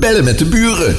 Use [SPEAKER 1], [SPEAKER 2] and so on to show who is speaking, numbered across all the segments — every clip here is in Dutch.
[SPEAKER 1] Bellen met de buren.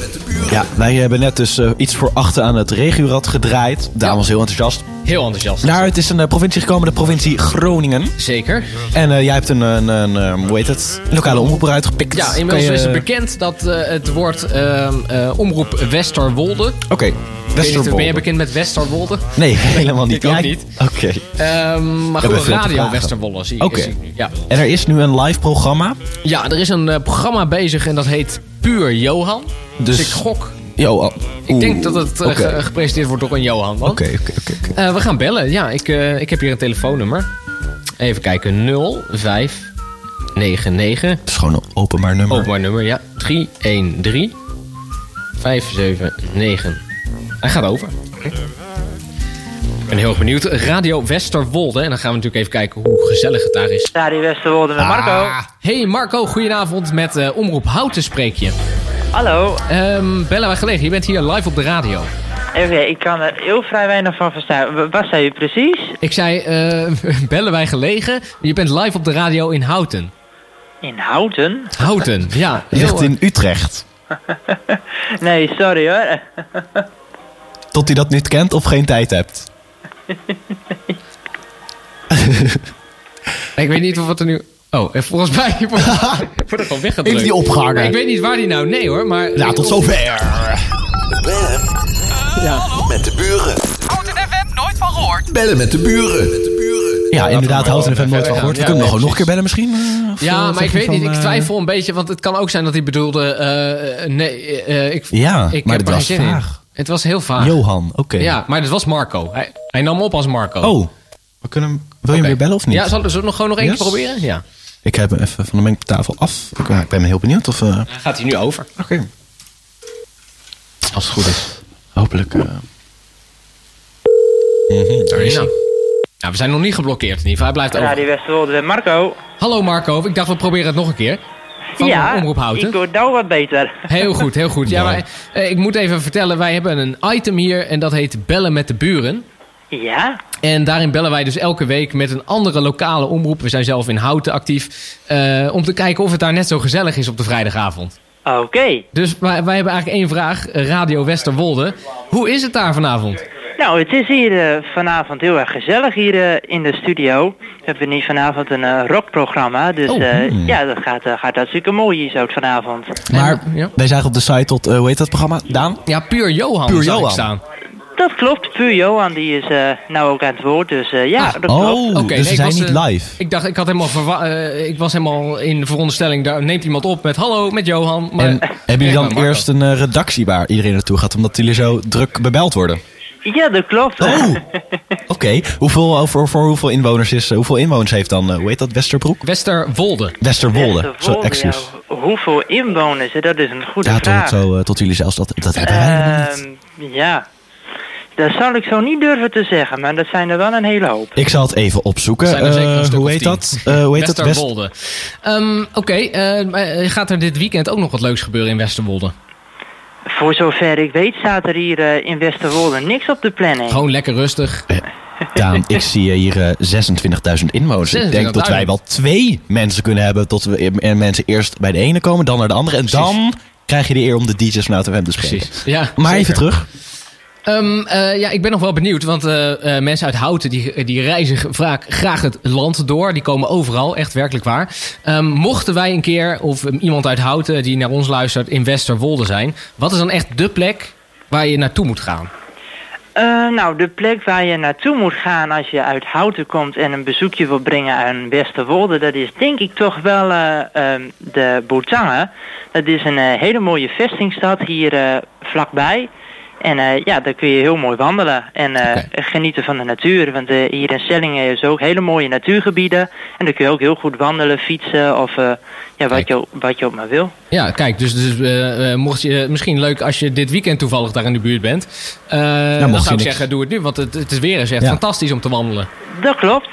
[SPEAKER 2] Ja, wij hebben net dus eh, iets voor achter aan het regiorad gedraaid. Daan was heel enthousiast.
[SPEAKER 3] Heel enthousiast.
[SPEAKER 2] Daaruit is een eh, provincie gekomen, de provincie Groningen.
[SPEAKER 3] Zeker.
[SPEAKER 2] En eh, jij hebt een, een, een, eh, hoe heet het, lokale omroep eruit gepikt.
[SPEAKER 3] Ja,
[SPEAKER 2] Kan
[SPEAKER 3] inmiddels
[SPEAKER 2] je-
[SPEAKER 3] is het bekend dat eh, het woord ehm, eh, omroep Westerwolde. Ik
[SPEAKER 2] Oké,
[SPEAKER 3] weet niet, Ben
[SPEAKER 2] Westerwolde.
[SPEAKER 3] jij bekend met Westerwolde?
[SPEAKER 2] Nee, helemaal niet.
[SPEAKER 3] Ik ook
[SPEAKER 2] Ja,
[SPEAKER 3] niet.
[SPEAKER 2] Oké.
[SPEAKER 3] Ehm, maar
[SPEAKER 2] hebben veel
[SPEAKER 3] goed,
[SPEAKER 2] te
[SPEAKER 3] Radio
[SPEAKER 2] vragen.
[SPEAKER 3] Westerwolle zie,
[SPEAKER 2] Oké.
[SPEAKER 3] zie ik nu. Ja.
[SPEAKER 2] En er is nu een live programma.
[SPEAKER 3] ja, er is een eh, programma bezig en dat heet Puur Johan. Dus,
[SPEAKER 2] Dus-
[SPEAKER 3] ik gok.
[SPEAKER 2] Yo, oh,
[SPEAKER 3] Ik
[SPEAKER 2] oeh,
[SPEAKER 3] denk dat het eh,
[SPEAKER 2] Oké,
[SPEAKER 3] ge- gepresenteerd wordt door een Johan. man.
[SPEAKER 2] oké, oké, oké, oké.
[SPEAKER 3] Eh, we gaan bellen. Ja, ik, eh, ik heb hier een telefoonnummer. Even kijken. 0599.
[SPEAKER 2] Het is gewoon een openbaar nummer.
[SPEAKER 3] Ook maar nummer, ja. 313 579. Hij gaat over. Ik ben heel erg benieuwd. Radio Westerwolde. En dan gaan we natuurlijk even kijken hoe gezellig het daar is.
[SPEAKER 4] Radio Westerwolde met Marco.
[SPEAKER 3] Ah. Hey Marco, goedenavond met eh, Omroep Houten spreek je.
[SPEAKER 4] Hallo.
[SPEAKER 3] Ehm, Bella wij gelegen, je bent hier live op de radio.
[SPEAKER 4] Even, kijken, ik kan er heel vrij weinig van verstaan. Wa- Wat zei u precies?
[SPEAKER 3] Ik zei, eh, bellen wij gelegen, je bent live op de radio in Houten.
[SPEAKER 4] In Houten?
[SPEAKER 3] Houten, ja.
[SPEAKER 2] Het ligt
[SPEAKER 3] Heel, eh,
[SPEAKER 2] in Utrecht.
[SPEAKER 4] Nee, sorry hoor.
[SPEAKER 3] Oh.
[SPEAKER 2] Tot hij dat niet kent of geen tijd hebt.
[SPEAKER 3] eh, ik weet niet of wat er nu... Oh, en volgens mij wordt wordt het al weggedrukt.
[SPEAKER 2] Heeft die opgehangen?
[SPEAKER 3] Ik weet niet waar die nou... Nee hoor, maar...
[SPEAKER 2] Ja, tot zover.
[SPEAKER 1] Bellen
[SPEAKER 3] Ja.
[SPEAKER 1] met de buren.
[SPEAKER 5] Houten FM, nooit van gehoord.
[SPEAKER 1] Bellen met de buren. Met de buren.
[SPEAKER 2] Ja, inderdaad, Houten FM nooit van
[SPEAKER 3] verder
[SPEAKER 2] gehoord. We
[SPEAKER 3] gaan.
[SPEAKER 2] kunnen
[SPEAKER 3] Ja,
[SPEAKER 2] nog, nog
[SPEAKER 3] precies.
[SPEAKER 2] een keer bellen misschien. eh, of, eh,
[SPEAKER 3] Ja, maar
[SPEAKER 2] zeg
[SPEAKER 3] ik
[SPEAKER 2] je
[SPEAKER 3] weet
[SPEAKER 2] van,
[SPEAKER 3] niet. Ik
[SPEAKER 2] eh,
[SPEAKER 3] twijfel een beetje, want het kan ook zijn dat hij bedoelde... eh, eh, nee, eh, ik,
[SPEAKER 2] Ja,
[SPEAKER 3] ik
[SPEAKER 2] maar
[SPEAKER 3] heb
[SPEAKER 2] dit
[SPEAKER 3] er
[SPEAKER 2] was
[SPEAKER 3] geen zin in.
[SPEAKER 2] vaag.
[SPEAKER 3] Het was heel vaag.
[SPEAKER 2] eh, Johan, oké.
[SPEAKER 3] Ja, maar dat was Marco. Hij, hij nam op als Marco.
[SPEAKER 2] Oh, we kunnen, hem- wil je hem
[SPEAKER 3] Oké.
[SPEAKER 2] weer bellen of niet?
[SPEAKER 3] Ja, zal- zullen we het dus- nog gewoon nog één
[SPEAKER 2] Yes.
[SPEAKER 3] keer proberen? Ja.
[SPEAKER 2] Ik heb hem even van de mengtafel af. Ik, ja, ik ben heel benieuwd of... eh, Oké.
[SPEAKER 3] Gaat hij nu over? Als het goed is.
[SPEAKER 2] Hopelijk... eh, mhm, daar is hij.
[SPEAKER 3] Nou, we zijn nog niet geblokkeerd in ieder geval. Hij blijft over.
[SPEAKER 4] Radio Westerwolde met Marco.
[SPEAKER 3] Hallo Marco, ik dacht we proberen het nog een keer. Van de Omroep Houten.
[SPEAKER 4] ik word nou wat beter.
[SPEAKER 3] Heel goed, heel goed. Ja, maar, eh, ik moet even vertellen, wij hebben een item hier en dat heet Bellen met de Buren.
[SPEAKER 4] Ja?
[SPEAKER 3] En daarin bellen wij dus elke week met een andere lokale omroep. We zijn zelf in Houten actief. eh, om te kijken of het daar net zo gezellig is op de vrijdagavond.
[SPEAKER 4] Oké.
[SPEAKER 3] Dus wij, wij hebben eigenlijk één vraag. eh, Radio Westerwolde. Hoe is het daar vanavond?
[SPEAKER 4] Nou, het is hier eh, vanavond heel erg gezellig hier eh, in de studio. We hebben hier vanavond een eh, rockprogramma. Dus
[SPEAKER 3] Oh,
[SPEAKER 4] eh, ja, dat gaat, eh, gaat hartstikke mooi hier zo vanavond.
[SPEAKER 2] Maar
[SPEAKER 3] En, ja.
[SPEAKER 2] wij zagen op de site tot, eh, hoe heet dat programma? Daan?
[SPEAKER 3] Ja, puur Johan
[SPEAKER 2] Puur
[SPEAKER 3] zag ik
[SPEAKER 2] Johan.
[SPEAKER 3] staan.
[SPEAKER 4] Dat klopt. Puur Johan die is eh, nou ook aan het woord. Dus eh, ja,
[SPEAKER 3] Ah,
[SPEAKER 4] dat klopt.
[SPEAKER 2] Oh,
[SPEAKER 3] Oké,
[SPEAKER 2] dus
[SPEAKER 3] nee,
[SPEAKER 2] ze
[SPEAKER 3] ik
[SPEAKER 2] zijn
[SPEAKER 3] was,
[SPEAKER 2] niet
[SPEAKER 3] eh,
[SPEAKER 2] live.
[SPEAKER 3] Ik dacht, ik had helemaal verwa- eh, ik was helemaal in de veronderstelling, daar neemt iemand op met hallo, met Johan. Maar,
[SPEAKER 2] En hebben jullie
[SPEAKER 3] Nee,
[SPEAKER 2] dan
[SPEAKER 3] maar
[SPEAKER 2] eerst een eh, redactie waar iedereen naartoe gaat, omdat jullie zo druk bebeld worden?
[SPEAKER 4] Ja, dat klopt.
[SPEAKER 2] Oh, oké. Hoeveel, eh, voor, voor hoeveel inwoners is, eh, hoeveel inwoners heeft dan, eh, hoe heet dat, Westerbroek?
[SPEAKER 3] Westerwolde.
[SPEAKER 2] Westerwolde,
[SPEAKER 4] Echt,
[SPEAKER 2] zo,
[SPEAKER 4] Wolde,
[SPEAKER 2] excuus.
[SPEAKER 4] ja. Hoeveel inwoners? hè? Dat is een goede
[SPEAKER 2] Ja,
[SPEAKER 4] vraag.
[SPEAKER 2] tot, zo, eh, tot jullie zelfs, dat, dat hebben wij helemaal niet.
[SPEAKER 4] Ehm, ja, dat zou ik zo niet durven te zeggen, maar dat zijn er wel een hele hoop.
[SPEAKER 2] Ik zal het even opzoeken.
[SPEAKER 3] Zijn er zeker een
[SPEAKER 2] Eh,
[SPEAKER 3] stuk
[SPEAKER 2] hoe
[SPEAKER 3] of
[SPEAKER 2] heet
[SPEAKER 3] tien.
[SPEAKER 2] dat? Eh, hoe heet dat? West-
[SPEAKER 3] Westerwolde. Ehm, Oké, eh, maar, eh, gaat er dit weekend ook nog wat leuks gebeuren in Westerwolde?
[SPEAKER 4] Voor zover ik weet staat er hier eh, in Westerwolde niks op de planning.
[SPEAKER 3] Gewoon lekker rustig.
[SPEAKER 2] Daan, ik zie eh, hier eh, 26.000 inwoners. Ik denk dat
[SPEAKER 3] 26.000.
[SPEAKER 2] wij wel twee mensen kunnen hebben. Tot we, eh, en mensen eerst bij de ene komen, dan naar de andere. En dan krijg je de eer om de DJ's vanuit hem te spreken.
[SPEAKER 3] Precies. Ja,
[SPEAKER 2] Maar
[SPEAKER 3] zeker.
[SPEAKER 2] even terug.
[SPEAKER 3] Ehm, eh, ja, ik ben nog wel benieuwd, want eh, eh, mensen uit Houten die, die reizen g- vaak graag het land door. Die komen overal, echt werkelijk waar. Ehm, mochten wij een keer, of ehm, iemand uit Houten die naar ons luistert, in Westerwolde zijn. Wat is dan echt de plek waar je naartoe moet gaan?
[SPEAKER 4] Eh, nou, de plek waar je naartoe moet gaan als je uit Houten komt en een bezoekje wil brengen aan Westerwolde, dat is denk ik toch wel eh, ehm, de Boertangen. Dat is een eh, hele mooie vestingstad hier eh, vlakbij. En eh, ja, daar kun je heel mooi wandelen en eh, genieten van de natuur. Want eh, hier in Sellingen is ook hele mooie natuurgebieden. En daar kun je ook heel goed wandelen, fietsen of eh, ja, wat,
[SPEAKER 3] Kijk.
[SPEAKER 4] je, wat je ook maar wil.
[SPEAKER 3] Ja, kijk, dus, dus eh, eh, mocht je misschien leuk als je dit weekend toevallig daar in de buurt bent. Eh, dan
[SPEAKER 2] Nou, je
[SPEAKER 3] zou ik
[SPEAKER 2] niks.
[SPEAKER 3] zeggen, doe het nu, want het, het is weer eens echt
[SPEAKER 2] Ja.
[SPEAKER 3] fantastisch om te wandelen.
[SPEAKER 4] Dat klopt.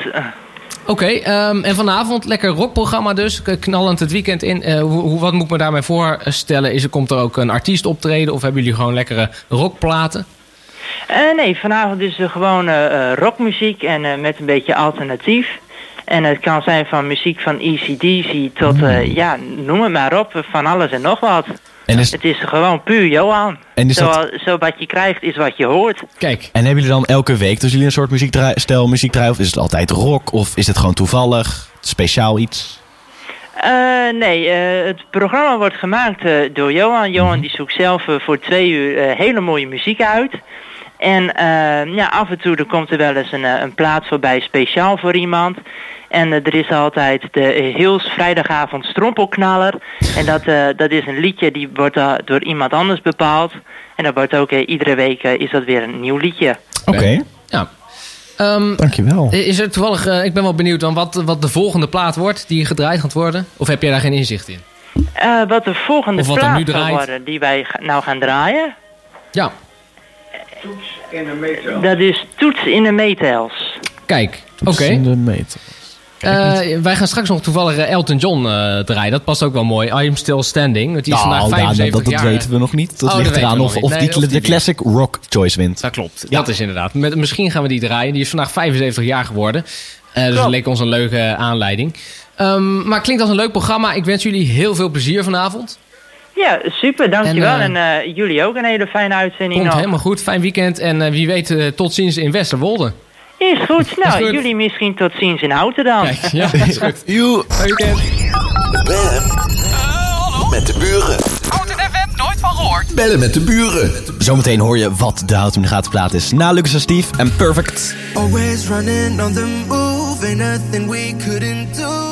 [SPEAKER 3] Oké, ehm, en vanavond lekker rockprogramma dus. K- Knallend het weekend in. Eh, hoe, hoe- wat moet ik me daarmee voorstellen? Is er, komt er ook een artiest optreden? Of hebben jullie gewoon lekkere rockplaten?
[SPEAKER 4] Eh, nee, vanavond is er gewoon eh, eh, rockmuziek en eh, met een beetje alternatief. En het kan zijn van muziek van E ECDC tot,
[SPEAKER 2] Hmm.
[SPEAKER 4] eh, ja, noem het maar op, van alles en nog wat.
[SPEAKER 2] En, is,
[SPEAKER 4] Het is gewoon puur Johan.
[SPEAKER 2] En is
[SPEAKER 4] zo,
[SPEAKER 2] dat-
[SPEAKER 4] zo wat je krijgt is wat je hoort.
[SPEAKER 3] Kijk,
[SPEAKER 2] en hebben jullie dan elke week dus jullie een soort muziekdraai, stijl muziekdraai? Of is het altijd rock? Of is het gewoon toevallig? Speciaal iets?
[SPEAKER 4] Eh, nee, eh, het programma wordt gemaakt eh, door Johan.
[SPEAKER 3] Mhm.
[SPEAKER 4] Johan die zoekt zelf eh, voor twee uur eh, hele mooie muziek uit. En eh, ja, af en toe er komt er wel eens een, eh, een plaat voorbij speciaal voor iemand. En eh, er is altijd de Hills vrijdagavond strompelknaller. En dat, eh, dat is een liedje die wordt eh, door iemand anders bepaald. En dat wordt ook eh, iedere week eh, is dat weer een nieuw liedje.
[SPEAKER 2] Oké,
[SPEAKER 3] ja. Ehm,
[SPEAKER 2] dankjewel.
[SPEAKER 3] is er toevallig, eh, ik ben wel benieuwd dan wat, wat de volgende plaat wordt die gedraaid gaat worden? Of heb jij daar geen inzicht in?
[SPEAKER 4] Eh, wat de volgende
[SPEAKER 3] Of wat er nu
[SPEAKER 4] plaat
[SPEAKER 3] draait.
[SPEAKER 4] zal worden die wij ga- nou gaan draaien.
[SPEAKER 3] Ja,
[SPEAKER 4] Dat is Toets in de Meetels.
[SPEAKER 3] kijk. Oké.
[SPEAKER 2] De meter.
[SPEAKER 3] Eh, wij gaan straks nog toevallig eh, Elton John eh, draaien. Dat past ook wel mooi. I'm Still Standing. Want die is vandaag
[SPEAKER 2] Nou, nou,
[SPEAKER 3] 75
[SPEAKER 2] dat, dat
[SPEAKER 3] jaar.
[SPEAKER 2] weten we nog niet. Dat
[SPEAKER 3] Oh, dat
[SPEAKER 2] ligt
[SPEAKER 3] weten we
[SPEAKER 2] eraan
[SPEAKER 3] nog
[SPEAKER 2] of,
[SPEAKER 3] niet.
[SPEAKER 2] of
[SPEAKER 3] Nee,
[SPEAKER 2] die,
[SPEAKER 3] of
[SPEAKER 2] cl-
[SPEAKER 3] die
[SPEAKER 2] de classic rock choice wint.
[SPEAKER 3] Dat klopt. Dat is inderdaad. Met, misschien gaan we die draaien. Die is vandaag 75 jaar geworden. Eh, dus dat
[SPEAKER 4] Klopt.
[SPEAKER 3] leek ons een leuke aanleiding. Ehm, maar klinkt als een leuk programma. Ik wens jullie heel veel plezier vanavond.
[SPEAKER 4] Ja, super, dankjewel.
[SPEAKER 3] En,
[SPEAKER 4] En, eh, jullie ook een hele fijne uitzending
[SPEAKER 3] Komt
[SPEAKER 4] nog.
[SPEAKER 3] helemaal goed. Fijn weekend. En eh, wie weet eh, tot ziens in Westerwolde.
[SPEAKER 4] Is goed. Nou,
[SPEAKER 3] goed.
[SPEAKER 4] jullie misschien tot ziens in Houten dan.
[SPEAKER 3] Kijk, ja, dat is goed.
[SPEAKER 1] Joe,
[SPEAKER 3] Fijn weekend.
[SPEAKER 1] Bam.
[SPEAKER 5] hallo?
[SPEAKER 1] Met de buren.
[SPEAKER 5] Houten FM, nooit van gehoord.
[SPEAKER 1] Bellen met de buren.
[SPEAKER 2] Zometeen hoor je wat de hout in de gaten plaat is. Na Lucas en Steve en Perfect.
[SPEAKER 6] Always running on the move, ain't nothing we couldn't do.